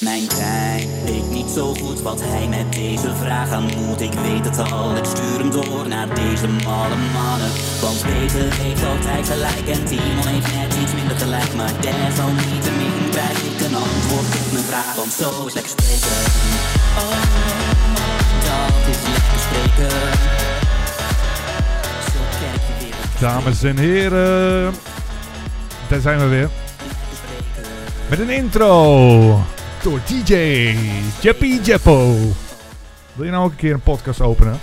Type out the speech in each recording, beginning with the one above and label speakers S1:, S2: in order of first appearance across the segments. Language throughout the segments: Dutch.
S1: Mijn tijd weet niet zo goed wat hij met deze vraag aan moet. Ik weet het al, ik stuur hem door naar deze malle mannen. Want deze heeft altijd gelijk en Timon heeft net iets minder gelijk. Maar desalniettemin krijg ik een antwoord op mijn vraag, want zo is lekker spreken. Oh, dat is lekker spreken. Zo ken ik je weer.
S2: Dames en heren, daar zijn we weer.
S1: Lekker spreken.
S2: Met een intro door DJ Jeppy Jeppo. Wil je nou ook een keer een podcast openen?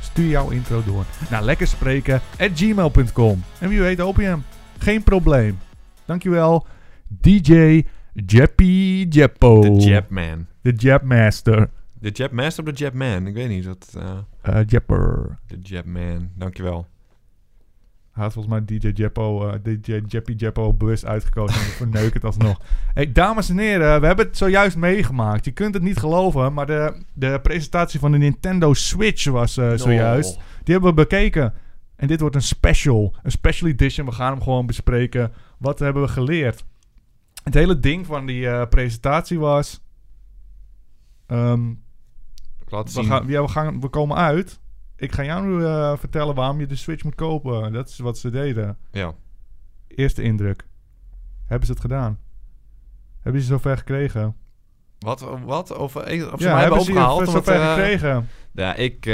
S2: Stuur jouw intro door naar lekkerspreken at gmail.com. En wie weet open je hem. Geen probleem. Dankjewel, DJ Jeppy Jeppo.
S3: De Japman.
S2: De Japmaster.
S3: De Japmaster of de Japman? Ik weet niet. Dat, eh,
S2: Eh Jepper.
S3: de Japman. Dankjewel.
S2: Hij had volgens mij DJ Jeppo, eh, DJ Jeppy Jeppo bewust uitgekozen. En ik verneuk het alsnog. Hey, dames en heren, we hebben het zojuist meegemaakt. Je kunt het niet geloven, maar de, de presentatie van de Nintendo Switch was eh, zojuist.
S3: Oh.
S2: Die hebben we bekeken. En dit wordt een special. Een special edition. We gaan hem gewoon bespreken. Wat hebben we geleerd? Het hele ding van die eh, presentatie was... ehm,
S3: Laat
S2: we,
S3: zien.
S2: gaan, ja, we, gaan, we komen uit. Ik ga jou nu eh, vertellen waarom je de Switch moet kopen. Dat is wat ze deden.
S3: Ja.
S2: Eerste indruk. Hebben ze het gedaan? Hebben ze zover gekregen?
S3: Wat? Wat? Of, eh, of ze
S2: ja,
S3: mij hebben
S2: hebben ze
S3: opgehaald?
S2: zover
S3: omdat, eh,
S2: gekregen?
S3: ja, ik, eh,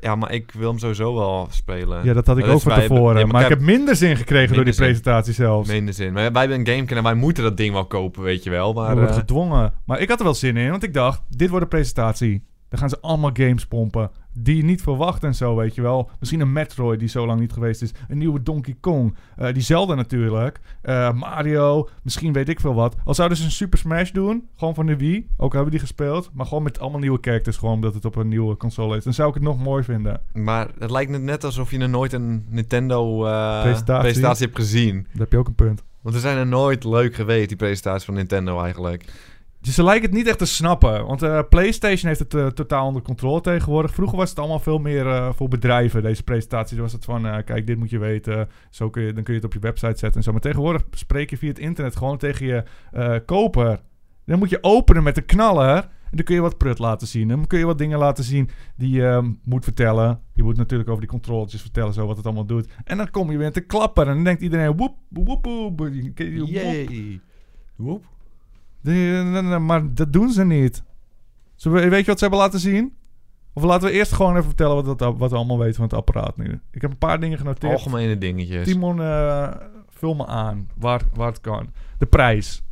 S3: ja, maar ik wil hem sowieso wel spelen.
S2: Ja, dat had ik
S3: dat
S2: ook
S3: is
S2: van
S3: wij-
S2: tevoren.
S3: ja,
S2: maar, ik heb minder zin gekregen door die
S3: Minder zin.
S2: presentatie zelfs.
S3: Meen de zin. Maar wij hebben een game en wij moeten dat ding wel kopen, weet je wel. Maar
S2: We worden
S3: eh,
S2: gedwongen. Maar ik had er wel zin in, want ik dacht, dit wordt een presentatie. Dan gaan ze allemaal games pompen die je niet verwacht en zo, weet je wel. Misschien een Metroid die zo lang niet geweest is. Een nieuwe Donkey Kong. Eh, die Zelda natuurlijk. Eh, Mario. Misschien weet ik veel wat. Al zouden ze een Super Smash doen, gewoon van de Wii. Ook hebben we die gespeeld. Maar gewoon met allemaal nieuwe characters, gewoon omdat het op een nieuwe console is. Dan zou ik het nog mooi vinden.
S3: maar het lijkt net- net alsof je nog nooit een Nintendo eh,
S2: Presentatie.
S3: presentatie hebt gezien.
S2: Daar heb je ook een punt.
S3: Want ze zijn er nooit leuk geweest, die presentaties van Nintendo eigenlijk.
S2: Dus ze lijken het niet echt te snappen. Want eh, PlayStation heeft het eh, totaal onder controle tegenwoordig. Vroeger was het allemaal veel meer eh, voor bedrijven. Deze presentatie Dan was het van, eh, kijk, dit moet je weten. Zo kun je, dan kun je het op je website zetten en zo. Maar tegenwoordig spreek je via het internet gewoon tegen je eh, koper. Dan moet je openen met de knaller. En dan kun je wat prut laten zien. Dan kun je wat dingen laten zien die je eh, moet vertellen. Je moet natuurlijk over die controletjes vertellen, zo wat het allemaal doet. En dan kom je weer te klappen. En dan denkt iedereen, woep, woep, woep. woep, woep
S3: Yay. Woep.
S2: Nee, nee, nee, maar dat doen ze niet. Zullen we- weet je wat ze hebben laten zien? Of laten we eerst gewoon even vertellen wat, dat, wat we allemaal weten van het apparaat nu. Ik heb een paar dingen genoteerd.
S3: Algemene dingetjes.
S2: Timon, eh, vul me aan waar, waar het kan. De prijs.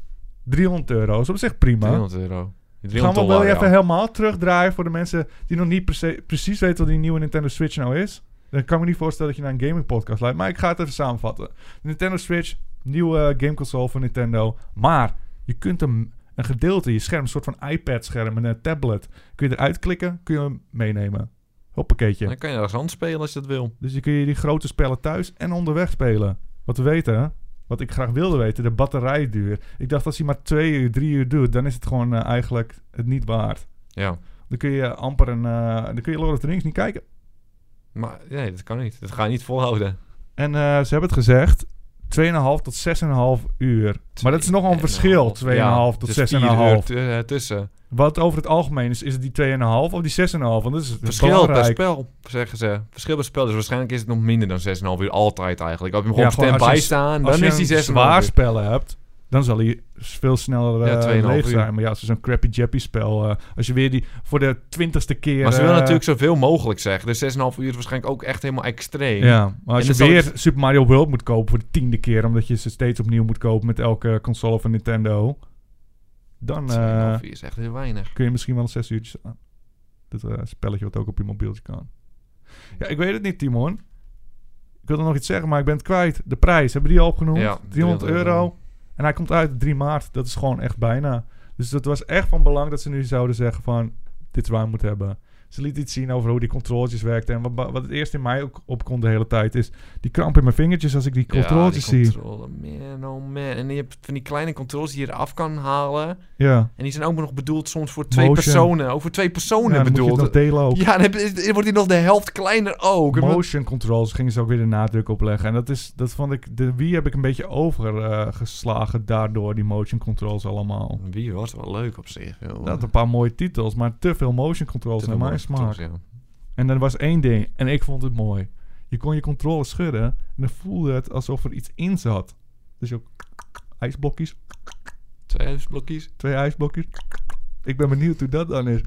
S2: 300 euro. Is op zich prima.
S3: 300 euro.
S2: Gaan
S3: 300
S2: we wel
S3: dollar,
S2: even
S3: ja.
S2: helemaal terugdraaien voor de mensen die nog niet prece- precies weten wat die nieuwe Nintendo Switch nou is. Dan kan ik me niet voorstellen dat je naar een gaming podcast luistert, maar ik ga het even samenvatten. De Nintendo Switch, nieuwe eh, gameconsole van Nintendo, maar je kunt hem een gedeelte, je scherm, een soort van iPad-scherm en een tablet, kun je eruit klikken, kun je hem meenemen. Hoppakeetje.
S3: Dan kan je ergens anders spelen als je dat wil.
S2: Dus je kun je die grote spellen thuis en onderweg spelen. Wat we weten, hè? wat ik graag wilde weten, de batterijduur. Ik dacht als hij maar twee uur, drie uur doet, dan is het gewoon eh, eigenlijk het niet waard.
S3: Ja.
S2: Dan kun je amper een. eh, dan kun je Lord of the Rings niet kijken.
S3: Maar nee, dat kan niet. Dat ga je niet volhouden.
S2: En eh, ze hebben het gezegd: 2,5 tot 6,5 uur. Maar dat is nogal een
S3: eh,
S2: verschil: 2,5
S3: dus
S2: tot 6,5.
S3: tussen.
S2: Wat over het algemeen is, is het die 2,5 of die 6,5? Want dat is
S3: Verschil per
S2: belangrijk.
S3: spel, zeggen ze. Verschil per spel. Dus waarschijnlijk is het nog minder dan 6,5 uur. Altijd eigenlijk. Als je hem
S2: Ja, gewoon
S3: gewoon stand
S2: als
S3: standby
S2: je-
S3: staan,
S2: Als
S3: dan is
S2: je
S3: die 6,5
S2: een zwaar
S3: uur.
S2: spel hebt, dan zal hij veel sneller
S3: Ja,
S2: eh,
S3: 2,5
S2: leeg
S3: uur.
S2: zijn. Maar ja, als je zo'n crappy jappy spel, eh, als je weer die voor de twintigste keer.
S3: Maar ze willen
S2: eh,
S3: natuurlijk zoveel mogelijk zeggen. Dus 6,5 uur is waarschijnlijk ook echt helemaal extreem.
S2: Ja, maar als
S3: En
S2: je
S3: dan
S2: weer
S3: zal
S2: Super Mario World moet kopen voor de tiende keer, omdat je ze steeds opnieuw moet kopen met elke console van Nintendo, dan
S3: 2,5
S2: eh,
S3: uur is echt heel weinig.
S2: kun je misschien wel zes uurtjes aan. Dat eh, spelletje wat ook op je mobieltje kan. Ja, ik weet het niet, Timon. Ik wilde nog iets zeggen, maar ik ben het kwijt. De prijs, hebben die al opgenoemd?
S3: Ja,
S2: 300
S3: €300
S2: euro. En hij komt uit op 3 maart. Dat is gewoon echt bijna. Dus dat was echt van belang dat ze nu zouden zeggen van... Dit is waar we moeten hebben. Ze liet iets zien over hoe die controletjes werkten. En wat, ba- wat het eerst in mij ook opkomt de hele tijd is... die kramp in mijn vingertjes als ik die controletjes
S3: ja, die
S2: zie.
S3: controle, man, oh man. En je hebt van die kleine controles die je eraf kan halen.
S2: Ja,
S3: En die zijn ook nog bedoeld soms voor twee
S2: Motion.
S3: personen. Ook voor twee
S2: ja
S3: personen
S2: dan moet je
S3: bedoeld.
S2: het nog delen ook.
S3: ja, dan, heb je- dan wordt die nog de helft kleiner ook. En wat-
S2: Motion controls gingen ze ook weer de nadruk op leggen. En dat, is, dat vond ik... De Wii heb ik een beetje overgeslagen daardoor, die motion controls allemaal.
S3: Wie was wel leuk op zich. joh.
S2: Dat had een paar mooie titels, maar te veel motion
S3: Te
S2: controls
S3: veel
S2: naar mijn
S3: mooie
S2: smaak.
S3: titels, ja.
S2: En er was één ding, en ik vond het mooi. Je kon je controle schudden en dan voelde het alsof er iets in zat. Dus je ook ijsblokjes,
S3: Twee huisblokjes.
S2: twee ijsblokjes. Ik ben benieuwd hoe dat dan is.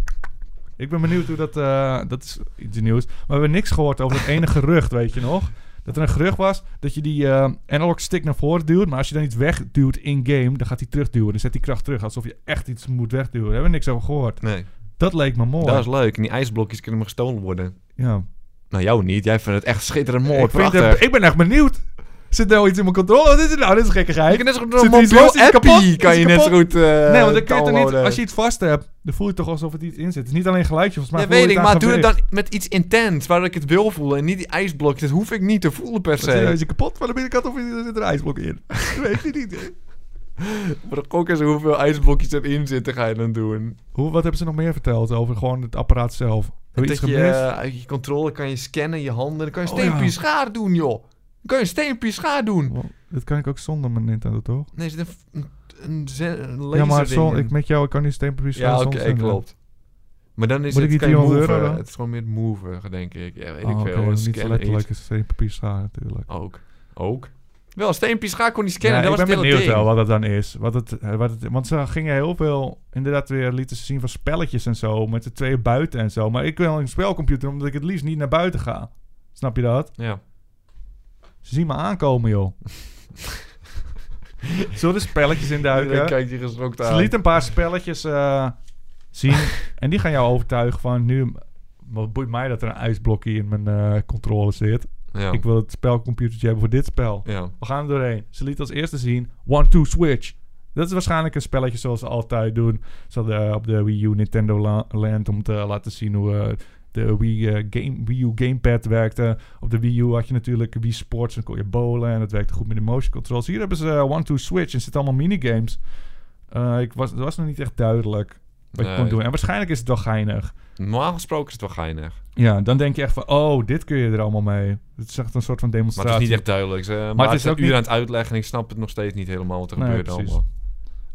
S2: Ik ben benieuwd hoe dat... eh, dat is iets nieuws. Maar we hebben niks gehoord over het ene gerucht, weet je nog? Dat er een gerucht was dat je die eh, analog stick naar voren duwt... maar als je dan iets wegduwt in-game, dan gaat hij terugduwen. Dan zet die kracht terug, alsof je echt iets moet wegduwen. Daar hebben we niks over gehoord.
S3: Nee,
S2: Dat leek me mooi.
S3: dat is leuk. En die ijsblokjes kunnen maar gestolen worden.
S2: Ja.
S3: Nou, jou niet. Jij vindt het echt schitterend mooi.
S2: ik, vind
S3: prachtig.
S2: het- ik ben echt benieuwd. Zit nou iets in mijn controle? Wat is het nou? Dit is
S3: Je
S2: gekkigheid.
S3: kan net zo goed
S2: Zit
S3: een
S2: er iets los?
S3: Mondial
S2: Is het
S3: appie
S2: kapot? Is
S3: kan je
S2: het
S3: net zo
S2: kapot?
S3: goed eh,
S2: nee, want dan kun je het er niet,
S3: downloaden.
S2: als je iets vast hebt, dan voel je toch alsof het iets in zit. Het is niet alleen geluidje, volgens mij.
S3: Ja,
S2: voel je
S3: weet ik,
S2: aan
S3: maar doe het
S2: gewicht.
S3: dan met iets intens, waar ik het wil voelen en niet die ijsblokjes. Dat hoef ik niet te voelen per
S2: Is hij-
S3: se.
S2: Is hij kapot van de binnenkant of is- zit er een ijsblok in? Dat weet je niet. hè.
S3: Maar de gok is hoeveel ijsblokjes erin zitten, ga je dan doen.
S2: Hoe, wat hebben ze nog meer verteld over gewoon het apparaat zelf? Heb je
S3: dat
S2: iets
S3: je
S2: gemist?
S3: eh, uit je controle kan je scannen, je handen. Dan kan je
S2: Oh,
S3: een steenpie
S2: ja.
S3: schaar doen, joh. Dan kan je een steenpie schaar doen.
S2: Wow, dat kan ik ook zonder mijn Nintendo, toch?
S3: Nee, er zit een, f- een, een, ze- een laser
S2: Ja, maar
S3: ding
S2: zo,
S3: in.
S2: ik, met jou ik kan niet steenpapier
S3: Ja,
S2: zonder
S3: oké,
S2: zonder.
S3: klopt. Maar dan is
S2: eh, Moet ik die
S3: het geen
S2: 300 euro
S3: mover.
S2: dan?
S3: Het is gewoon meer het mover, denk ik. Ja, weet
S2: Ah,
S3: ik
S2: oké,
S3: veel. Een
S2: niet zo
S3: scannen
S2: letterlijk
S3: iets.
S2: is steenpapier schaar natuurlijk.
S3: Ook. Ook. Wel, een steenpie schaar kon die scannen.
S2: Ja,
S3: dat
S2: ik
S3: was
S2: ben
S3: het hele
S2: benieuwd
S3: ding.
S2: wel wat dat dan is. Wat het, eh, wat het, want ze gingen heel veel, inderdaad weer lieten ze zien van spelletjes en zo. Met de twee buiten en zo. Maar ik wil een spelcomputer omdat ik het liefst niet naar buiten ga. Snap je dat?
S3: Ja.
S2: Ze zien me aankomen, joh. Zullen de spelletjes
S3: Iedereen
S2: induiken?
S3: kijkt je geschokt
S2: Ze
S3: aan.
S2: lieten een paar spelletjes eh, zien. en die gaan jou overtuigen van nu... Wat boeit mij dat er een ijsblokje in mijn eh, controle zit?
S3: Ja.
S2: Ik wil het spelcomputertje hebben voor dit spel.
S3: ja.
S2: We gaan er doorheen. Ze liet als eerste zien One Two Switch. Dat is waarschijnlijk een spelletje zoals ze altijd doen. Ze hadden eh, op de Wii U Nintendo La- Land om te laten zien hoe eh, de Wii, eh, game, Wii U Gamepad werkte. Op de Wii U had je natuurlijk Wii Sports en kon je bowlen en dat werkte goed met de motion controls. Hier hebben ze eh, One Two Switch en er zitten allemaal minigames. Eh ik was, het was nog niet echt duidelijk wat je
S3: Nee.
S2: kon doen. En waarschijnlijk is het wel geinig.
S3: Normaal gesproken is het wel geinig.
S2: Ja, dan denk je echt van, oh, dit kun je er allemaal mee. Het is echt een soort van
S3: Maar
S2: demonstratie.
S3: het is niet echt duidelijk. Ze, maar, het is ook uur
S2: niet-
S3: aan het uitleggen en ik snap het nog steeds niet helemaal wat er
S2: Nee,
S3: gebeurt
S2: precies.
S3: allemaal.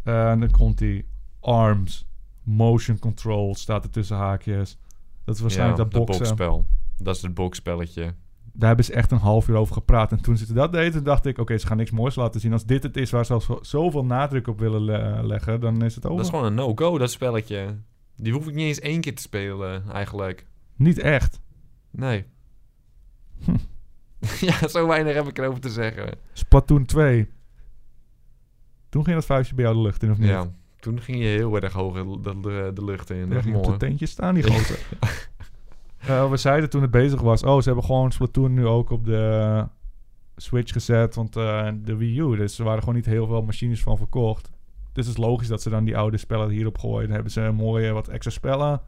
S2: Eh, en dan komt die arms, motion control, staat er tussen haakjes. Dat is waarschijnlijk
S3: Ja,
S2: dat boksen.
S3: boksspel. Dat is het boksspelletje.
S2: Daar hebben ze echt een half uur over gepraat. En toen ze dat deden, dacht ik... Oké, ze gaan niks moois laten zien. Als dit het is waar ze al zo- zoveel nadruk op willen le- leggen... dan is het over.
S3: Dat is gewoon een no-go, dat spelletje. Die hoef ik niet eens één keer te spelen, eigenlijk.
S2: Niet echt.
S3: Nee.
S2: Hm.
S3: ja, zo weinig heb ik erover te zeggen.
S2: Splatoon 2. Toen ging dat vuistje bij jou de lucht in, of niet?
S3: Ja, toen ging je heel erg hoog de, de, de lucht in.
S2: Daar
S3: Echt
S2: ging op de
S3: mooi.
S2: tentjes staan, die gozer. Eh, we zeiden toen het bezig was... Oh, ze hebben gewoon Splatoon nu ook op de Switch gezet. Want eh, de Wii U. Dus er waren gewoon niet heel veel machines van verkocht. Dus het is logisch dat ze dan die oude spellen hierop gooien. Dan hebben ze mooie wat extra spellen.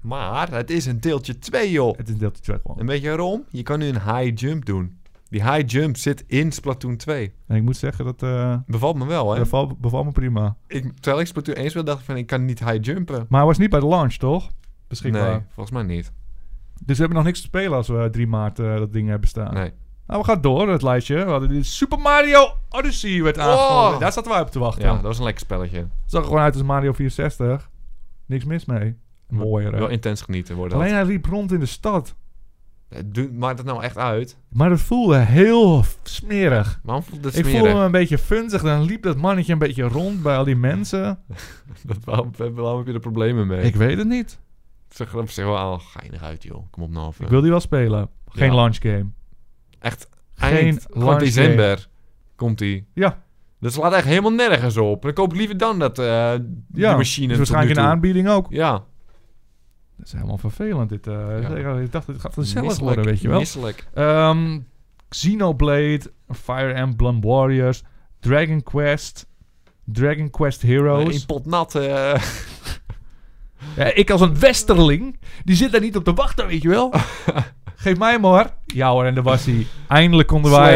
S3: Maar het is een deeltje 2, joh.
S2: Het is een deeltje 2 gewoon.
S3: En weet je waarom? Je kan nu een high jump doen. Die high jump zit in Splatoon 2.
S2: En ik moet zeggen dat... eh
S3: Bevalt me wel, hè?
S2: beval, beval me prima.
S3: Ik, terwijl ik Splatoon 1 speelde, dacht ik van, ik kan niet high jumpen.
S2: Maar hij was niet bij de launch, toch? Beschikbaar.
S3: Nee, volgens mij niet.
S2: Dus we hebben nog niks te spelen als we 3 maart eh, dat ding hebben staan.
S3: Nee.
S2: Nou, we gaan door, het lijstje. We hadden die Super Mario Odyssey werd aangekondigd.
S3: Oh!
S2: Daar zaten wij op te wachten.
S3: Ja, dat was een lekker spelletje.
S2: Zag er gewoon uit als Mario 64. Niks mis mee. Mooier, hè?
S3: Wel intens genieten worden.
S2: Alleen
S3: dat.
S2: hij liep rond in de stad.
S3: Eh, doe- Maakt het nou echt uit?
S2: Maar dat voelde heel f- smerig.
S3: Waarom voelt het
S2: Ik
S3: smerig?
S2: voelde me een beetje funzig. Dan liep dat mannetje een beetje rond bij al die mensen.
S3: Dat- waarom, waarom heb je er problemen mee?
S2: Ik weet het niet.
S3: Het zag er op zich wel al geinig uit, joh. Kom op nou even.
S2: Ik wil die wel spelen. Geen
S3: Ja.
S2: launch game.
S3: Echt,
S2: Geen
S3: Eh, eind van
S2: launch
S3: december komt die.
S2: Ja.
S3: Dat slaat echt helemaal nergens op. Dan koop ik liever dan dat, eh
S2: Ja,
S3: die machine
S2: dus
S3: tot nu
S2: waarschijnlijk in
S3: toe.
S2: de aanbieding ook.
S3: Ja.
S2: Dat is helemaal vervelend. Dit, eh. Ik dacht, het gaat vanzelf
S3: Misselijk,
S2: worden, weet je wel.
S3: Misselijk.
S2: Ehm, Xenoblade, Fire Emblem Warriors, Dragon Quest, Dragon Quest
S3: Eh,
S2: Heroes.
S3: In pot nat. eh,
S2: Ja, ik als een westerling, die zit daar niet op te wachten, weet je wel. Geef mij maar. Ja hoor, en daar was hij. Eindelijk konden wij.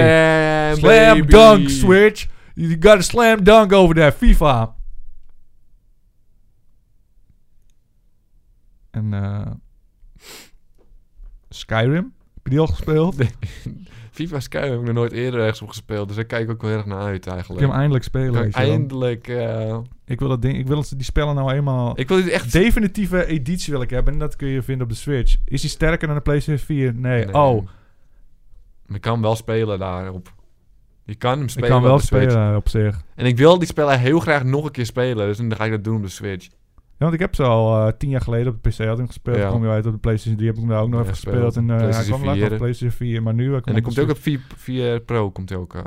S3: Slam,
S2: Slam
S3: baby.
S2: dunk, Switch. You got a slam dunk over there, FIFA. En eh Skyrim, heb je die al gespeeld? Ik
S3: FIFA Skyrim heb ik nog nooit eerder ergens op gespeeld, dus daar kijk ik ook wel heel erg naar uit
S2: wil hem
S3: eigenlijk.
S2: eindelijk spelen.
S3: Kan
S2: weet
S3: ik
S2: je wel.
S3: eindelijk... eh,
S2: Ik wil, dat ding, ik wil dat ze die spellen nou eenmaal...
S3: ik wil dit echt...
S2: Definitieve editie wil ik hebben en dat kun je vinden op de Switch. Is die sterker dan de PlayStation 4? Nee.
S3: Nee.
S2: Oh,
S3: Maar Je kan wel spelen daarop. Je kan hem
S2: ik
S3: spelen
S2: kan
S3: op
S2: wel
S3: de Switch.
S2: spelen eh, op zich.
S3: En ik wil die spellen heel graag nog een keer spelen, dus dan ga ik dat doen op de Switch.
S2: Ja, want ik heb ze al eh, tien jaar geleden op de PC had ik hem gespeeld.
S3: Ja.
S2: Toen kwam je uit op de PlayStation 3, heb ik hem daar ook nog
S3: Ja,
S2: even
S3: gespeeld.
S2: gespeeld. En eh, hij
S3: PlayStation
S2: kwam later op
S3: 4.
S2: de PlayStation 4, maar nu... hij
S3: En dan komt hij ook
S2: de
S3: op 4, 4 Pro, komt hij ook eh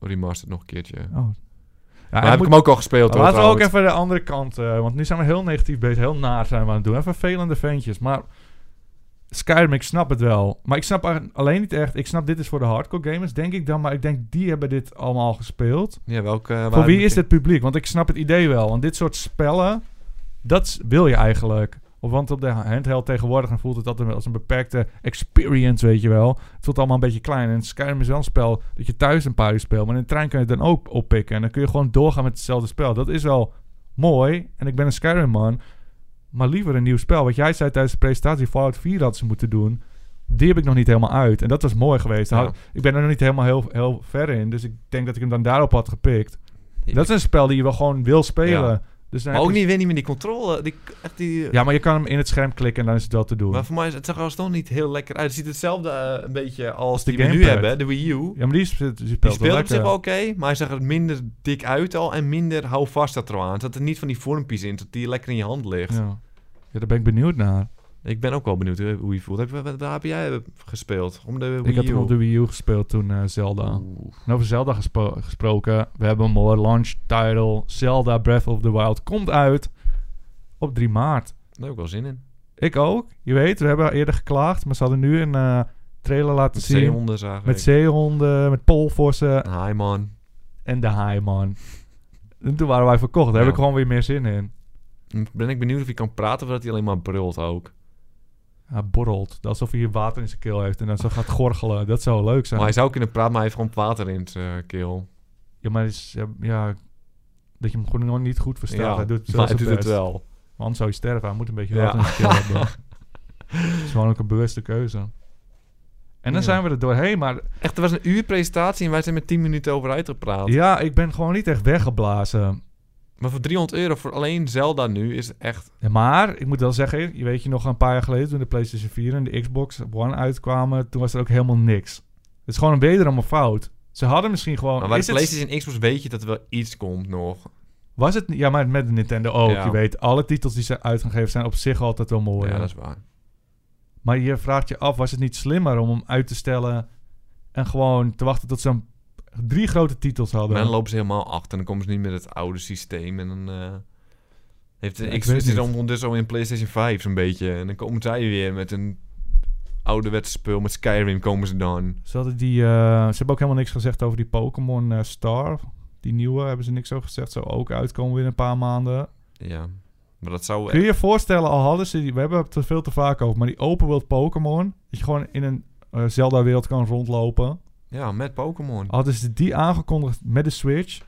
S3: remastered nog een keertje. Maar
S2: Switch. Oh. Ja,
S3: heb
S2: hij
S3: ik
S2: moet-
S3: hem ook al gespeeld hoor,
S2: laten we ook
S3: trouwens.
S2: even de andere kant, eh, want nu zijn we heel negatief bezig, heel naar zijn we aan het doen. Even vervelende ventjes, maar Skyrim, ik snap het wel. Maar ik snap a- alleen niet echt, ik snap dit is voor de hardcore gamers, denk ik dan, maar ik denk die hebben dit allemaal gespeeld.
S3: Ja, welke... eh,
S2: Voor
S3: waar-
S2: wie is dit publiek? Want ik snap het idee wel. Want dit soort spellen, dat s- wil je eigenlijk. Of want op de handheld tegenwoordig dan voelt het altijd als een beperkte experience, weet je wel. Het voelt allemaal een beetje klein. En Skyrim is wel een spel dat je thuis een paar uur speelt. Maar in de trein kun je het dan ook oppikken. En dan kun je gewoon doorgaan met hetzelfde spel. Dat is wel mooi. En ik ben een Skyrim man. Maar liever een nieuw spel. Wat jij zei tijdens de presentatie, Fallout 4 had ze moeten doen. Die heb ik nog niet helemaal uit. En dat was mooi geweest. Daar
S3: Ja.
S2: had- Ik ben er nog niet helemaal heel, heel ver in. Dus ik denk dat ik hem dan daarop had gepikt.
S3: Ja.
S2: Dat is een spel die je wel gewoon wil spelen.
S3: Ja.
S2: Dus dan
S3: Maar
S2: heb
S3: ook
S2: je-
S3: niet, weer niet met die controle. Die, echt die,
S2: Ja, maar je kan hem in het scherm klikken en dan is het wel te doen.
S3: Maar voor mij is het zag er alsnog niet heel lekker uit. Het ziet hetzelfde eh, een beetje als
S2: de
S3: die we nu
S2: gamepad.
S3: hebben, de Wii U.
S2: Ja, maar die, is, die speelt
S3: Die
S2: wel
S3: speelde op
S2: lekker.
S3: zich wel oké, maar hij zag er minder dik uit al en minder hou vast dat er aan. Er zat er niet van die vormpjes in, dat die lekker in je hand ligt.
S2: Ja. ja, daar ben ik benieuwd naar.
S3: Ik ben ook wel benieuwd hoe hoe je voelt. Heb, wat- waar heb jij gespeeld? Om de Wii
S2: Ik had
S3: U?
S2: hem op de Wii U gespeeld toen eh, Zelda.
S3: Oeh.
S2: En over Zelda gespro- gesproken. We hebben hem hoor. Launch title. Zelda Breath of the Wild komt uit op 3 maart.
S3: Daar heb ik wel zin in.
S2: Ik ook. Je weet, we hebben eerder geklaagd. Maar ze hadden nu een eh, trailer laten
S3: Met
S2: zien.
S3: zeehonden zagen
S2: Met
S3: ik.
S2: zeehonden, met polvorsen
S3: Hi man.
S2: en de Haiman. En toen waren wij verkocht. Daar
S3: Ja.
S2: heb ik gewoon weer meer zin in.
S3: Ben ik benieuwd of hij kan praten of dat hij alleen maar brult ook.
S2: Hij borrelt. Alsof hij water in zijn keel heeft en dan zo gaat gorgelen. Dat zou leuk zijn.
S3: Maar hij zou kunnen praten, maar hij heeft gewoon water in zijn eh, keel.
S2: Ja, maar is, ja, ja, dat je hem gewoon nog niet goed verstaat. hij doet,
S3: maar
S2: zelfs
S3: hij
S2: zijn
S3: doet het
S2: best.
S3: wel.
S2: Maar anders zou je sterven. Hij moet een beetje
S3: Ja.
S2: water in zijn keel hebben. Het is gewoon ook een bewuste keuze. En dan
S3: Ja.
S2: zijn we er doorheen. Maar
S3: Echt, er was een uur presentatie en wij zijn met 10 minuten over uitgepraat.
S2: ja, ik ben gewoon niet echt weggeblazen.
S3: Maar voor 300 euro voor alleen Zelda nu is echt...
S2: Ja, Maar ik moet wel zeggen, je weet je nog een paar jaar geleden toen de PlayStation 4 en de Xbox One uitkwamen, toen was er ook helemaal niks. Het is gewoon een wederom een fout. Ze hadden misschien gewoon.
S3: maar bij
S2: is
S3: de
S2: het- Oh,
S3: PlayStation en Xbox weet je dat er wel iets komt nog.
S2: was het? Ja, maar met de Nintendo ook.
S3: Ja.
S2: Je weet, alle titels die ze uitgegeven zijn op zich altijd wel mooi.
S3: ja, dat is waar.
S2: Maar je vraagt je af, was het niet slimmer om hem uit te stellen en gewoon te wachten tot ze een- drie grote titels
S3: Maar
S2: hadden?
S3: dan lopen ze helemaal achter en dan komen ze niet met het oude systeem. En dan eh, heeft de
S2: Ja, ik
S3: Xbox
S2: weet
S3: zit
S2: niet.
S3: ondertussen al in PlayStation 5 zo'n beetje. En dan komen zij weer met een ouderwets spul, met Skyrim komen ze dan.
S2: Ze, hadden die, eh, ze hebben ook helemaal niks gezegd over die Pokémon eh, Star. Die nieuwe hebben ze niks over gezegd. Zou ook uitkomen binnen een paar maanden.
S3: Ja, maar dat zou...
S2: Kun je je voorstellen, al hadden ze die... We hebben het er veel te vaak over, maar die open world Pokémon... Dat je gewoon in een eh, Zelda-wereld kan rondlopen.
S3: Ja, met Pokémon.
S2: Hadden ze die aangekondigd met de Switch...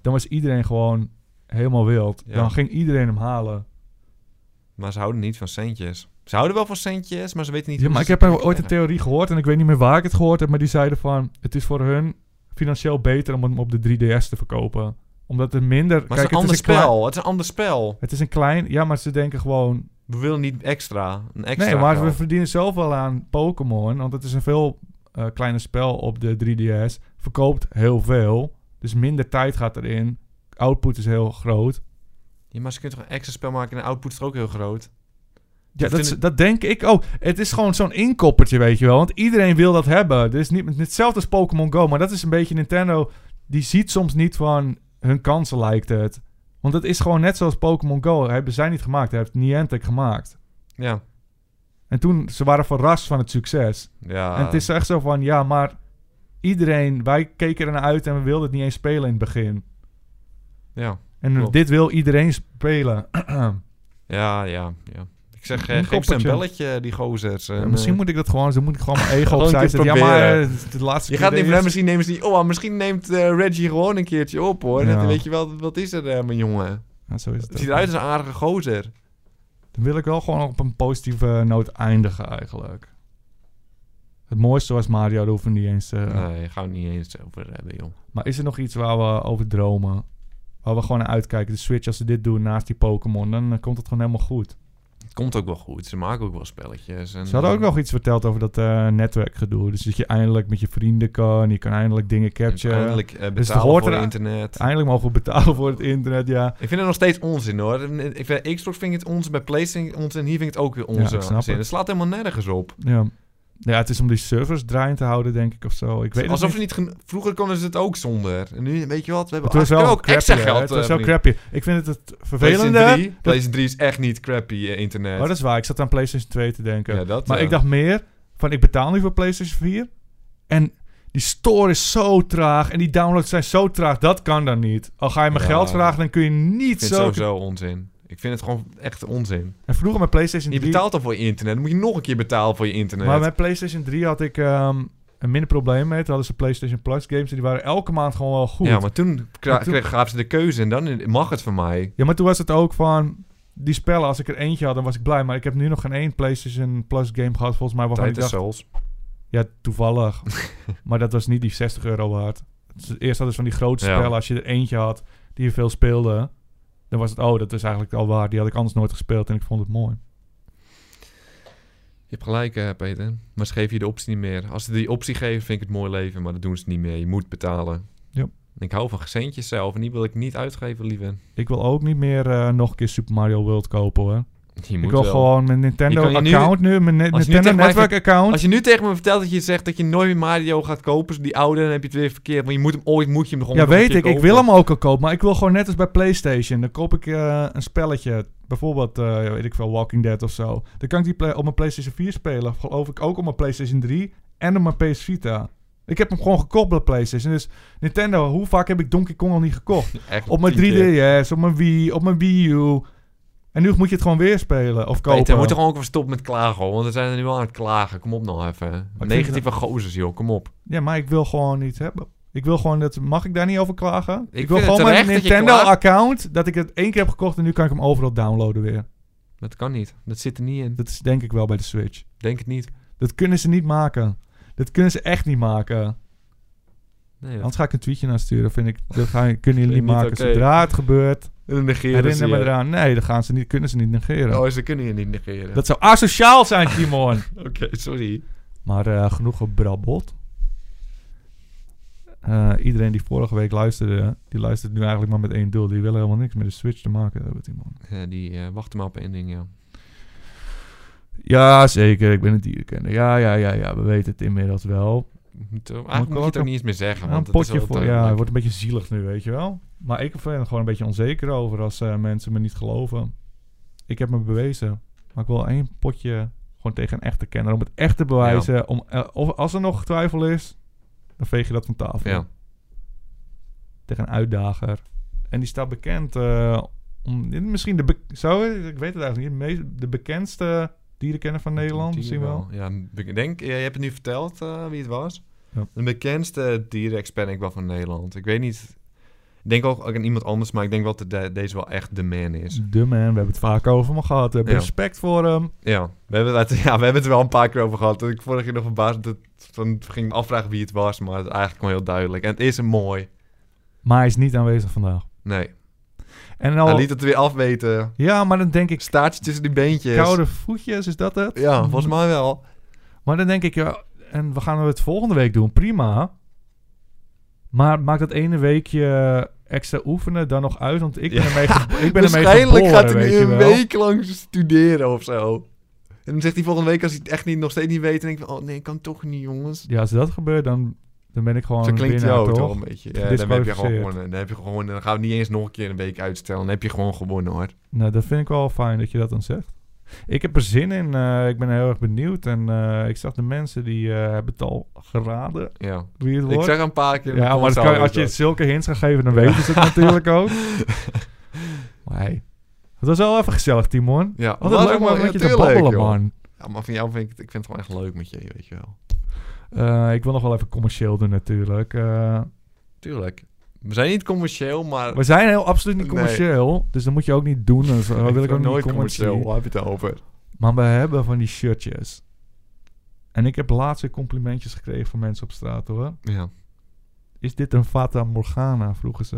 S2: Dan was iedereen gewoon helemaal wild.
S3: Ja.
S2: Dan ging iedereen hem halen.
S3: Maar ze houden niet van centjes. Ze houden wel van centjes, maar ze weten niet...
S2: Ja,
S3: hoe
S2: maar ik
S3: ze
S2: heb
S3: ze
S2: ooit een
S3: krijgen.
S2: theorie gehoord... en ik weet niet meer waar ik het gehoord heb... maar die zeiden van... het is voor hun financieel beter om hem op de 3DS te verkopen. Omdat er minder...
S3: Maar het is een ander
S2: klein-
S3: spel. Het is een ander spel.
S2: het is een klein... Ja, maar ze denken gewoon...
S3: We willen niet extra. Een extra
S2: nee, maar we
S3: geld.
S2: verdienen zoveel aan Pokémon. Want het is een veel eh, kleiner spel op de 3DS. Verkoopt heel veel. Dus minder tijd gaat erin. Output is heel groot.
S3: Ja, maar ze kunnen toch een extra spel maken en de output is toch ook heel groot.
S2: Ja,
S3: Ik
S2: dat,
S3: vind
S2: is-
S3: het-
S2: dat denk ik ook. Het is gewoon zo'n inkoppertje, weet je wel. Want iedereen wil dat hebben. Het is niet hetzelfde als Pokémon Go. Maar dat is een beetje Nintendo. Die ziet soms niet van hun kansen, lijkt het. Want het is gewoon net zoals Pokémon Go. Hebben zij niet gemaakt. Heeft Niantic gemaakt.
S3: Ja.
S2: En toen, ze waren verrast van het succes.
S3: ja.
S2: En het is echt zo van, ja, maar iedereen, wij keken ernaar uit en we wilden het niet eens spelen in het begin.
S3: Ja.
S2: En
S3: Klopt.
S2: dit wil iedereen spelen.
S3: Ja, Ja, ja, ja. Ik zeg,
S2: Een
S3: eh geef ze een
S2: koppertje.
S3: belletje, die gozers. en,
S2: Ja,
S3: eh,
S2: misschien moet ik dat gewoon, dan moet ik gewoon mijn ego
S3: Gewoon
S2: opzij
S3: een
S2: zetten.
S3: keer
S2: Ja, maar
S3: proberen.
S2: eh, het- de laatste
S3: Je
S2: keer
S3: gaat niet
S2: deed
S3: meer,
S2: het.
S3: misschien nemen ze die... Oh, misschien neemt eh, Reggie gewoon een keertje op, hoor.
S2: Ja.
S3: Dat, weet je wel, wat is er, eh, mijn jongen?
S2: Ja, zo is het.
S3: Het
S2: ook.
S3: ziet eruit als een aardige gozer.
S2: Dan wil ik wel gewoon op een positieve noot eindigen eigenlijk. Het mooiste was Mario, daar hoeven we niet eens... eh,
S3: Nee, gaan we het niet eens over hebben, joh.
S2: Maar is er nog iets waar we over dromen? Waar we gewoon naar uitkijken? De Switch, als ze dit doen naast die Pokémon, dan eh, komt het gewoon helemaal goed.
S3: Het komt ook wel goed. Ze maken ook wel spelletjes. En,
S2: Ze hadden ook nog iets verteld over dat eh, netwerkgedoe. Dus dat je eindelijk met je vrienden kan, je kan eindelijk dingen capturen. Eindelijk,
S3: Uiteindelijk eh, betalen
S2: Dus het hoort
S3: voor
S2: eraan.
S3: internet.
S2: mogen we betalen voor het internet, ja.
S3: Ik vind het nog steeds onzin hoor. Ik vind, Xbox vind ik het onzin, bij PlayStation onzin, hier vind ik het ook weer onzin.
S2: Ja, ik snap
S3: het.
S2: het.
S3: slaat helemaal nergens op.
S2: ja. Ja, het is om die servers draaiend te houden, denk ik, of zo. Ik weet het niet.
S3: Alsof er niet geno- Vroeger konden ze het ook zonder. En nu, weet je wat, we hebben
S2: Het was
S3: eigenlijk
S2: wel
S3: ook extra
S2: crappy, hè.
S3: geld.
S2: Het was
S3: eh,
S2: wel
S3: verdiend.
S2: crappy. Ik vind het het
S3: PlayStation
S2: vervelende...
S3: 3, PlayStation 3 is echt niet crappy eh, internet.
S2: Oh, dat is waar. Ik zat aan PlayStation 2 te denken.
S3: ja, dat,
S2: Maar
S3: eh,
S2: ik dacht meer van ik betaal nu voor PlayStation 4. En die store is zo traag en die downloads zijn zo traag. Dat kan dan niet. Al ga je me
S3: Ja.
S2: geld vragen, dan kun je
S3: ik
S2: niet
S3: vind
S2: zo...
S3: het sowieso onzin. Ik vind het gewoon echt onzin.
S2: En vroeger met PlayStation
S3: Je
S2: 3...
S3: betaalt al voor je internet, dan moet je nog een keer betalen voor je internet.
S2: Maar met PlayStation 3 had ik ehm, een minder probleem mee. Toen hadden ze PlayStation Plus games en die waren elke maand gewoon wel goed.
S3: Ja, maar toen, kra-
S2: Maar toen- Oh,
S3: kreeg- gaven ze de keuze en dan mag het van mij.
S2: Ja, maar toen was het ook van... Die spellen, als ik er eentje had, dan was ik blij. Maar ik heb nu nog geen één PlayStation Plus game gehad, volgens mij. Waarvan ik
S3: Tijd is
S2: dacht,
S3: Souls.
S2: Ja, toevallig. maar dat was niet die 60 euro waard. Dus Eerst hadden ze van die grote
S3: Ja.
S2: spellen. Als je er eentje had die je veel speelde, dan was het, oh, dat is eigenlijk al waar. Die had ik anders nooit gespeeld en ik vond het mooi.
S3: Je hebt gelijk, eh, Peter. Maar ze geven je de optie niet meer. Als ze die optie geven, vind ik het mooi leven. Maar dat doen ze niet meer. Je moet betalen.
S2: Ja.
S3: En Ik hou van centjes zelf. En die wil ik niet uitgeven, lieve.
S2: Ik wil ook niet meer eh, nog een keer Super Mario World kopen hoor.
S3: Je moet
S2: ik wil
S3: wel.
S2: gewoon mijn Nintendo
S3: Je kan je nu-
S2: account nu, mijn ne-
S3: Als je nu
S2: Nintendo
S3: tegen mij
S2: Network account.
S3: Als je nu tegen me vertelt dat je zegt dat je nooit meer Mario gaat kopen, zo die oude, dan heb je het weer verkeerd. Maar je moet hem ooit, moet je hem gewoon
S2: Ja,
S3: nog een
S2: weet
S3: keer
S2: ik. Ik
S3: kopen.
S2: wil hem ook al kopen. Maar ik wil gewoon net als bij PlayStation. Dan koop ik eh, een spelletje. Bijvoorbeeld, eh, weet ik veel, Walking Dead of zo. Dan kan ik die play- op mijn PlayStation 4 spelen. Geloof ik ook op mijn PlayStation 3. En op mijn PS Vita. Ik heb hem gewoon gekocht bij PlayStation. Dus Nintendo, hoe vaak heb ik Donkey Kong al niet gekocht?
S3: Echt
S2: Op mijn
S3: tien keer.
S2: 3DS, op mijn Wii, op mijn Wii U. En nu moet je het gewoon weer spelen of kopen.
S3: Peter, moet er gewoon ook weer stoppen met klagen, hoor. Want we zijn er nu al aan het klagen. Kom op nou even.
S2: vind
S3: Negatieve gozers, joh. Kom op.
S2: Ja, maar ik wil gewoon niet hebben. Ik wil gewoon dat. Mag ik daar niet over klagen? Ik,
S3: vind
S2: wil
S3: het
S2: gewoon mijn
S3: terecht dat je
S2: Nintendo-account. Dat ik het één keer heb gekocht en nu kan ik hem overal downloaden weer.
S3: Dat kan niet. Dat zit er niet in.
S2: Dat is denk ik wel bij de Switch.
S3: Denk het niet.
S2: Dat kunnen ze niet maken. Dat kunnen ze echt niet maken.
S3: Nee, dat
S2: Anders ga ik een tweetje naar sturen. Vind ik, dat gaan, kunnen jullie
S3: Vind
S2: niet
S3: ik niet
S2: maken.
S3: oké.
S2: Zodra het gebeurt,
S3: negeren
S2: herinner me eraan. Nee, dat gaan ze niet, kunnen ze niet negeren.
S3: Oh, ze kunnen je niet negeren.
S2: Dat zou asociaal zijn, Timon.
S3: Oké, sorry.
S2: maar eh, genoeg gebrabbeld. Eh, iedereen die vorige week luisterde, die luistert nu eigenlijk maar met één doel. Die willen helemaal niks met de Switch te maken hebben, Timon.
S3: Ja, die eh wacht maar op één ding, ja.
S2: Ja, zeker. Ik ben een dierenkenner. Ja, ja, ja, ja. We weten het inmiddels wel.
S3: Moet, eh,
S2: Maar ik
S3: eigenlijk moet
S2: wil
S3: je het
S2: ook
S3: ook niet eens meer zeggen.
S2: Ja, een
S3: Want het is
S2: potje
S3: wel
S2: voor.
S3: duidelijk.
S2: Ja, het wordt een beetje zielig nu, weet je wel. Maar ik ben er gewoon een beetje onzeker over als eh, mensen me niet geloven. Ik heb me bewezen. Maar ik wil één potje gewoon tegen een echte kenner. Om het echt te bewijzen. Om, eh, of als er nog twijfel is, dan veeg je dat van tafel.
S3: Ja.
S2: Tegen een uitdager. En die staat bekend. eh, om, dit is misschien de. be- Zo, ik weet het eigenlijk niet. De, meest- de bekendste dierenkenner van Nederland.
S3: Die
S2: Misschien wel.
S3: Ja, ik denk, eh, je hebt het nu verteld eh, wie het was.
S2: Ja.
S3: De bekendste dierenexpert denk ik wel van Nederland. Ik weet niet... Ik denk ook ook aan iemand anders, maar ik denk wel dat de- deze wel echt de man is.
S2: De man, we hebben het vaak over hem gehad. We hebben
S3: Ja.
S2: respect voor hem.
S3: Ja we, hebben het, ja, we hebben het er wel een paar keer over gehad. Dat ik vorige keer nog verbaasd dat van ging me afvragen wie het was, maar het is eigenlijk gewoon heel duidelijk. En het is hem mooi.
S2: Maar hij is niet aanwezig vandaag.
S3: Nee,
S2: En al,
S3: hij liet het weer afweten.
S2: Ja, maar dan denk ik,
S3: Staartje tussen die beentjes.
S2: koude voetjes, is dat het?
S3: Ja, volgens mij wel.
S2: Maar dan denk ik, ja, en we gaan het volgende week doen, prima. Maar maak dat ene weekje extra oefenen dan nog uit, want ik ben
S3: Ja.
S2: ermee, ge- ik ben ermee
S3: Waarschijnlijk
S2: geboren,
S3: gaat hij
S2: weet
S3: nu
S2: je
S3: een
S2: wel.
S3: week lang studeren of zo. En dan zegt hij volgende week, als hij het echt niet, nog steeds niet weet, dan denk ik van, oh nee, kan toch niet, jongens.
S2: Ja, als dat gebeurt, dan, dan ben ik gewoon
S3: Zo klinkt hij
S2: winnaar,
S3: ook
S2: toch?
S3: toch een beetje. Ja, dan heb je gewoon
S2: Gedisqualificeerd.
S3: gewonnen. Dan heb je gewoon, dan gaan we niet eens nog een keer een week uitstellen. Dan heb je gewoon gewonnen, hoor.
S2: Nou, dat vind ik wel fijn dat je dat dan zegt. Ik heb er zin in, eh, ik ben heel erg benieuwd. En eh, ik zag de mensen die eh, hebben het al geraden,
S3: Ja.
S2: wie het wordt.
S3: Ik zeg een paar keer.
S2: Ja,
S3: dan
S2: maar dat
S3: zou
S2: kan-
S3: ik
S2: als je
S3: dat.
S2: zulke hints gaat geven, dan weten ze het natuurlijk ook. Maar hey, Dat was wel even gezellig, Timon.
S3: Ja,
S2: Wat een leuk man met je te
S3: natuurlijk,
S2: babbelen,
S3: joh.
S2: man.
S3: Ja, maar van jou vind ik, het- ik vind het gewoon echt leuk met je, weet je wel.
S2: Eh, ik wil nog wel even commercieel doen natuurlijk. Eh,
S3: Tuurlijk. We zijn niet commercieel, maar...
S2: we zijn heel absoluut niet
S3: Nee.
S2: commercieel, dus dat moet je ook niet doen. Dat wil ik ook
S3: vind
S2: niet
S3: nooit
S2: commercieel.
S3: Waar heb je het over?
S2: Maar we hebben van die shirtjes. En ik heb laatst weer complimentjes gekregen van mensen op straat hoor.
S3: Ja.
S2: Is dit een Fata Morgana? vroegen ze.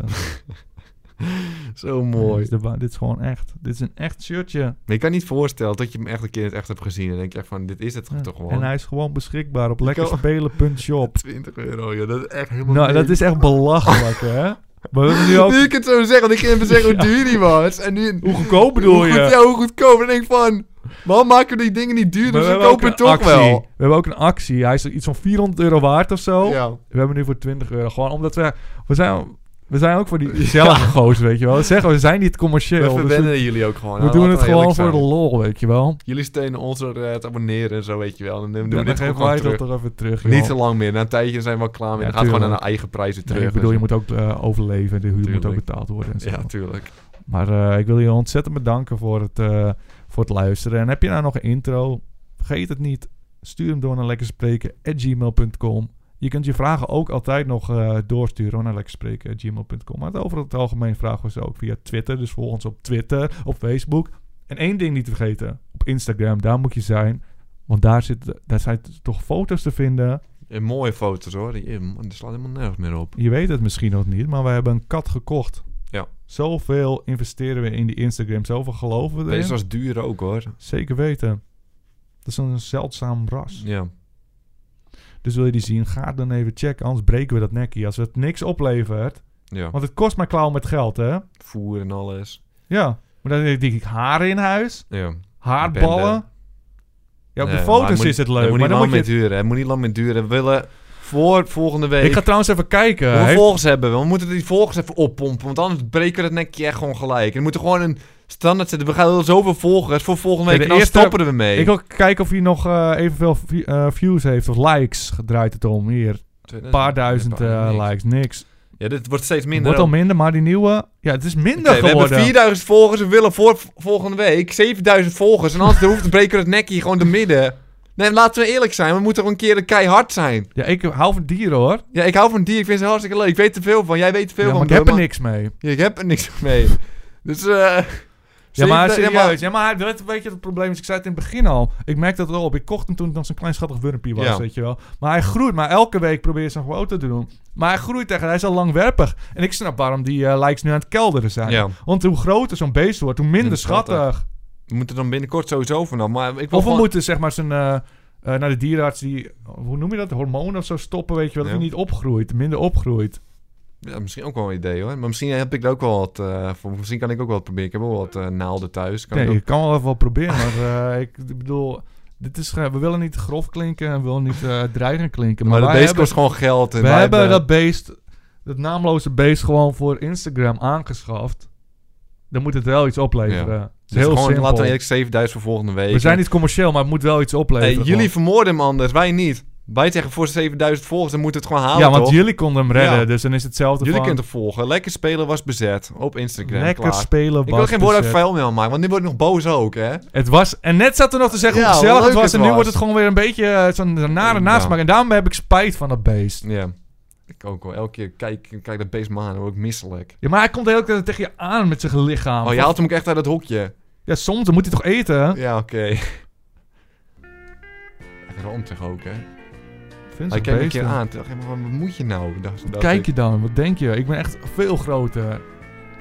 S3: Zo
S2: Dit
S3: mooi.
S2: is de wa- dit is gewoon echt. Dit is een echt shirtje.
S3: Maar je kan niet voorstellen dat je hem echt een keer in het echt hebt gezien. En denk je echt van, dit is het
S2: Ja.
S3: toch gewoon.
S2: En hij is gewoon beschikbaar op
S3: op
S2: lekkerspelen.shop.
S3: 20 euro, joh. Dat is echt helemaal
S2: Nou, dat is
S3: niks.
S2: echt belachelijk hè. Maar we hebben nu ook...
S3: Nu ik het zo zeg, want ik ging even zeggen hoe
S2: Ja.
S3: duur die was. En nu...
S2: Hoe goedkoop bedoel
S3: hoe
S2: je?
S3: Goed, ja, hoe goedkoop. En dan denk ik van... Waarom maken we die dingen niet duurder?
S2: Maar we
S3: Ze
S2: hebben ook
S3: kopen het
S2: een
S3: toch
S2: actie.
S3: wel.
S2: We hebben ook een actie. Hij is iets van 400 euro waard of zo.
S3: Ja.
S2: We hebben nu voor 20 euro. Gewoon omdat we... We zijn, we zijn ook voor die gezellige gozer, weet je wel. Dat Zeggen we, we zijn niet
S3: We
S2: commercieel. dus we-
S3: verwennen jullie ook gewoon.
S2: we
S3: hè.
S2: doen
S3: nou, Laten
S2: het
S3: we
S2: gewoon
S3: eerlijk
S2: voor de
S3: zijn.
S2: lol, weet je wel.
S3: Jullie steunen ons door eh, te abonneren en zo, weet je wel. Dan doen we
S2: Ja, dan
S3: dit
S2: geven
S3: gewoon
S2: wij dat
S3: terug.
S2: toch even terug, joh.
S3: Niet zo lang meer. Na een tijdje zijn we wel klaar mee.
S2: Ja,
S3: dan gaat het gewoon
S2: tuurlijk.
S3: naar de eigen prijzen
S2: Nee,
S3: terug.
S2: ik bedoel, je
S3: en
S2: moet ook eh, overleven. De huur moet ook
S3: Tuurlijk.
S2: betaald worden en zo.
S3: zo. Ja, tuurlijk.
S2: maar eh, ik wil je ontzettend bedanken voor het, eh, voor het luisteren. En heb je nou nog een intro? Vergeet het niet. Stuur hem door naar lekkerspreken.gmail.com. Je kunt je vragen ook altijd nog eh, doorsturen hoor, naar lekkerspreken.gmail.com. Maar over het algemeen vragen we ze ook via Twitter. Dus volg ons op Twitter, op Facebook. En één ding niet vergeten. Op Instagram, daar moet je zijn. Want daar, zit, daar zijn toch foto's te vinden...
S3: En mooie foto's hoor. Die, man, die slaat helemaal nergens meer op.
S2: Je weet het misschien nog niet, maar we hebben een kat gekocht.
S3: Ja.
S2: Zoveel investeren we in die Instagram. Zoveel geloven we erin.
S3: Deze was duur ook hoor.
S2: Zeker weten. Dat is een zeldzaam ras.
S3: Ja.
S2: Dus wil je die zien, ga dan even checken. Anders breken we dat nekje als het niks oplevert.
S3: Ja.
S2: Want het kost maar klauw met geld, hè?
S3: Voer en alles.
S2: Ja. Maar dan denk ik, haren in huis,
S3: Ja.
S2: haarballen.
S3: Bende.
S2: Ja, op
S3: Nee,
S2: de
S3: maar het
S2: foto's
S3: moet-
S2: is het
S3: het
S2: leuk.
S3: moet
S2: maar
S3: niet
S2: dan
S3: lang
S2: moet je...
S3: meer duren. Het moet niet lang meer duren. We willen voor volgende week...
S2: Ik ga trouwens even kijken.
S3: Hoeveel
S2: Heeft-
S3: volgers hebben we? We moeten die volgers even oppompen. Want anders breken we dat nekje echt gewoon gelijk. En we moeten gewoon een standaard zetten. We gaan zoveel volgers voor volgende
S2: Ja,
S3: week.
S2: de
S3: en dan
S2: eerste-
S3: stoppen we mee.
S2: eh, Ik wil kijken of hij nog eh, evenveel vi- eh, views heeft of likes. Draait het om. Hier,
S3: Een
S2: Een paar duizend eh, likes, niks.
S3: Ja, dit wordt steeds
S2: Het
S3: minder.
S2: wordt al
S3: ook.
S2: minder, maar die nieuwe... Ja, het is minder
S3: Oké, we
S2: geworden.
S3: hebben 4000 volgers. We willen voor v- volgende week 7000 volgers. En anders hoeft te breken we het nekje gewoon door midden. Nee, laten we eerlijk zijn. We moeten gewoon een keer een keihard zijn.
S2: Ja, ik hou van dieren, hoor.
S3: Ja, ik hou van dieren. Ik vind ze hartstikke leuk. Ik weet er veel van. Jij weet er veel
S2: Ja, maar
S3: van.
S2: ik heb er
S3: bro,
S2: niks mee.
S3: Ja, ik heb er niks mee. Dus, eh...
S2: Ja, maar
S3: zeven-
S2: serieus. Ja, maar dat- weet je wat het probleem is? Ik zei het in het begin al. Ik merkte dat wel op. Ik kocht hem toen het nog zo'n klein schattig wurmpje was,
S3: Ja.
S2: weet je wel. Maar hij groeit. Maar elke week probeer je zo'n foto te doen. Maar hij groeit tegen. Hij is al langwerpig. En ik snap waarom die eh, likes nu aan het kelderen zijn.
S3: ja.
S2: Want hoe groter zo'n beest wordt, hoe minder
S3: Minder
S2: schattig.
S3: schattig. We moeten dan binnenkort sowieso vanaf. Maar ik wil
S2: Of we
S3: gewoon-
S2: moeten zeg maar zijn, eh, eh, naar de dierenarts die, hoe noem je dat, hormonen of zo stoppen, weet je wel, dat
S3: Ja.
S2: hij niet opgroeit, minder opgroeit.
S3: Ja, misschien ook wel een idee hoor. Maar misschien heb ik er ook wel wat eh, voor. Misschien kan ik ook wel wat proberen. Ik heb wel wat eh, naalden thuis. Kan ik
S2: nee,
S3: ook-
S2: ik kan wel even wat proberen, maar eh, ik bedoel, dit is, ge- we willen niet grof klinken en we willen niet eh, dreigend klinken.
S3: Maar
S2: Maar,
S3: dat
S2: wij
S3: beest
S2: hebben,
S3: kost gewoon geld. En
S2: we
S3: wij Dus
S2: hebben dat beest, dat naamloze beest gewoon voor Instagram aangeschaft. Dan moet het wel iets opleveren. Het is
S3: Dus
S2: heel
S3: gewoon,
S2: simpel.
S3: laten we eerlijk 7000 voor volgende week.
S2: we zijn niet commercieel, maar het moet wel iets
S3: Hey,
S2: opleveren.
S3: jullie vermoorden hem anders, wij niet. Wij zeggen voor 7000 volgers, dan moeten we het gewoon
S2: gewoon.
S3: halen.
S2: Ja, want
S3: toch?
S2: jullie konden hem redden,
S3: Ja.
S2: dus dan is hetzelfde
S3: jullie
S2: van...
S3: kunnen het volgen. Lekker spelen was bezet op Instagram.
S2: Lekker
S3: klaar.
S2: spelen,
S3: Ik wil
S2: was
S3: geen woord uit
S2: bezet.
S3: vuil meer maken, want nu word ik nog boos ook, hè?
S2: Het was, en net zat er nog te zeggen
S3: Ja,
S2: hoe
S3: hoe
S2: gezellig het
S3: leuk
S2: was. En
S3: het
S2: nu
S3: was.
S2: wordt het gewoon weer een beetje eh, zo'n zo'n nare
S3: Ja.
S2: nasmaak. En daarom heb ik spijt van dat beest.
S3: Ja. Ik ook wel. Elke keer kijk, kijk dat beest maar aan, dan word ik misselijk.
S2: Ja, maar hij komt de hele tijd tegen je aan met zijn lichaam.
S3: Oh, je haalt hem ook echt uit het hokje.
S2: Ja, soms dan moet hij toch eten? hè?
S3: Ja, oké. Echt rantig ook, hè?
S2: Vind zo'n
S3: Hij keek me een
S2: beesten.
S3: keer aan. Toen dacht ik, maar wat moet je nou? Dacht, dacht
S2: Kijk
S3: ik.
S2: je dan, wat denk je? Ik ben echt veel groter.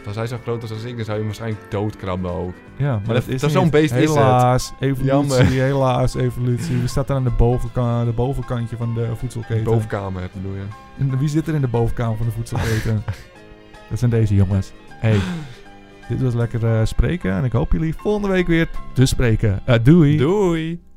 S3: Als hij zo groot was als ik, dan zou je hem waarschijnlijk doodkrabben ook.
S2: Ja, maar, dat
S3: dat-
S2: is
S3: dat
S2: niet.
S3: zo'n beest is het.
S2: Helaas, evolutie,
S3: Jammer.
S2: helaas, evolutie. We staan aan de, bovenka- de bovenkantje van de voedselketen.
S3: Bovenkamer, bedoel je?
S2: En wie zit er in de bovenkamer van de voedselketen? dat zijn deze jongens. Hey, dit was lekker eh, spreken en ik hoop jullie volgende week weer te spreken. Eh, doei.
S3: Doei!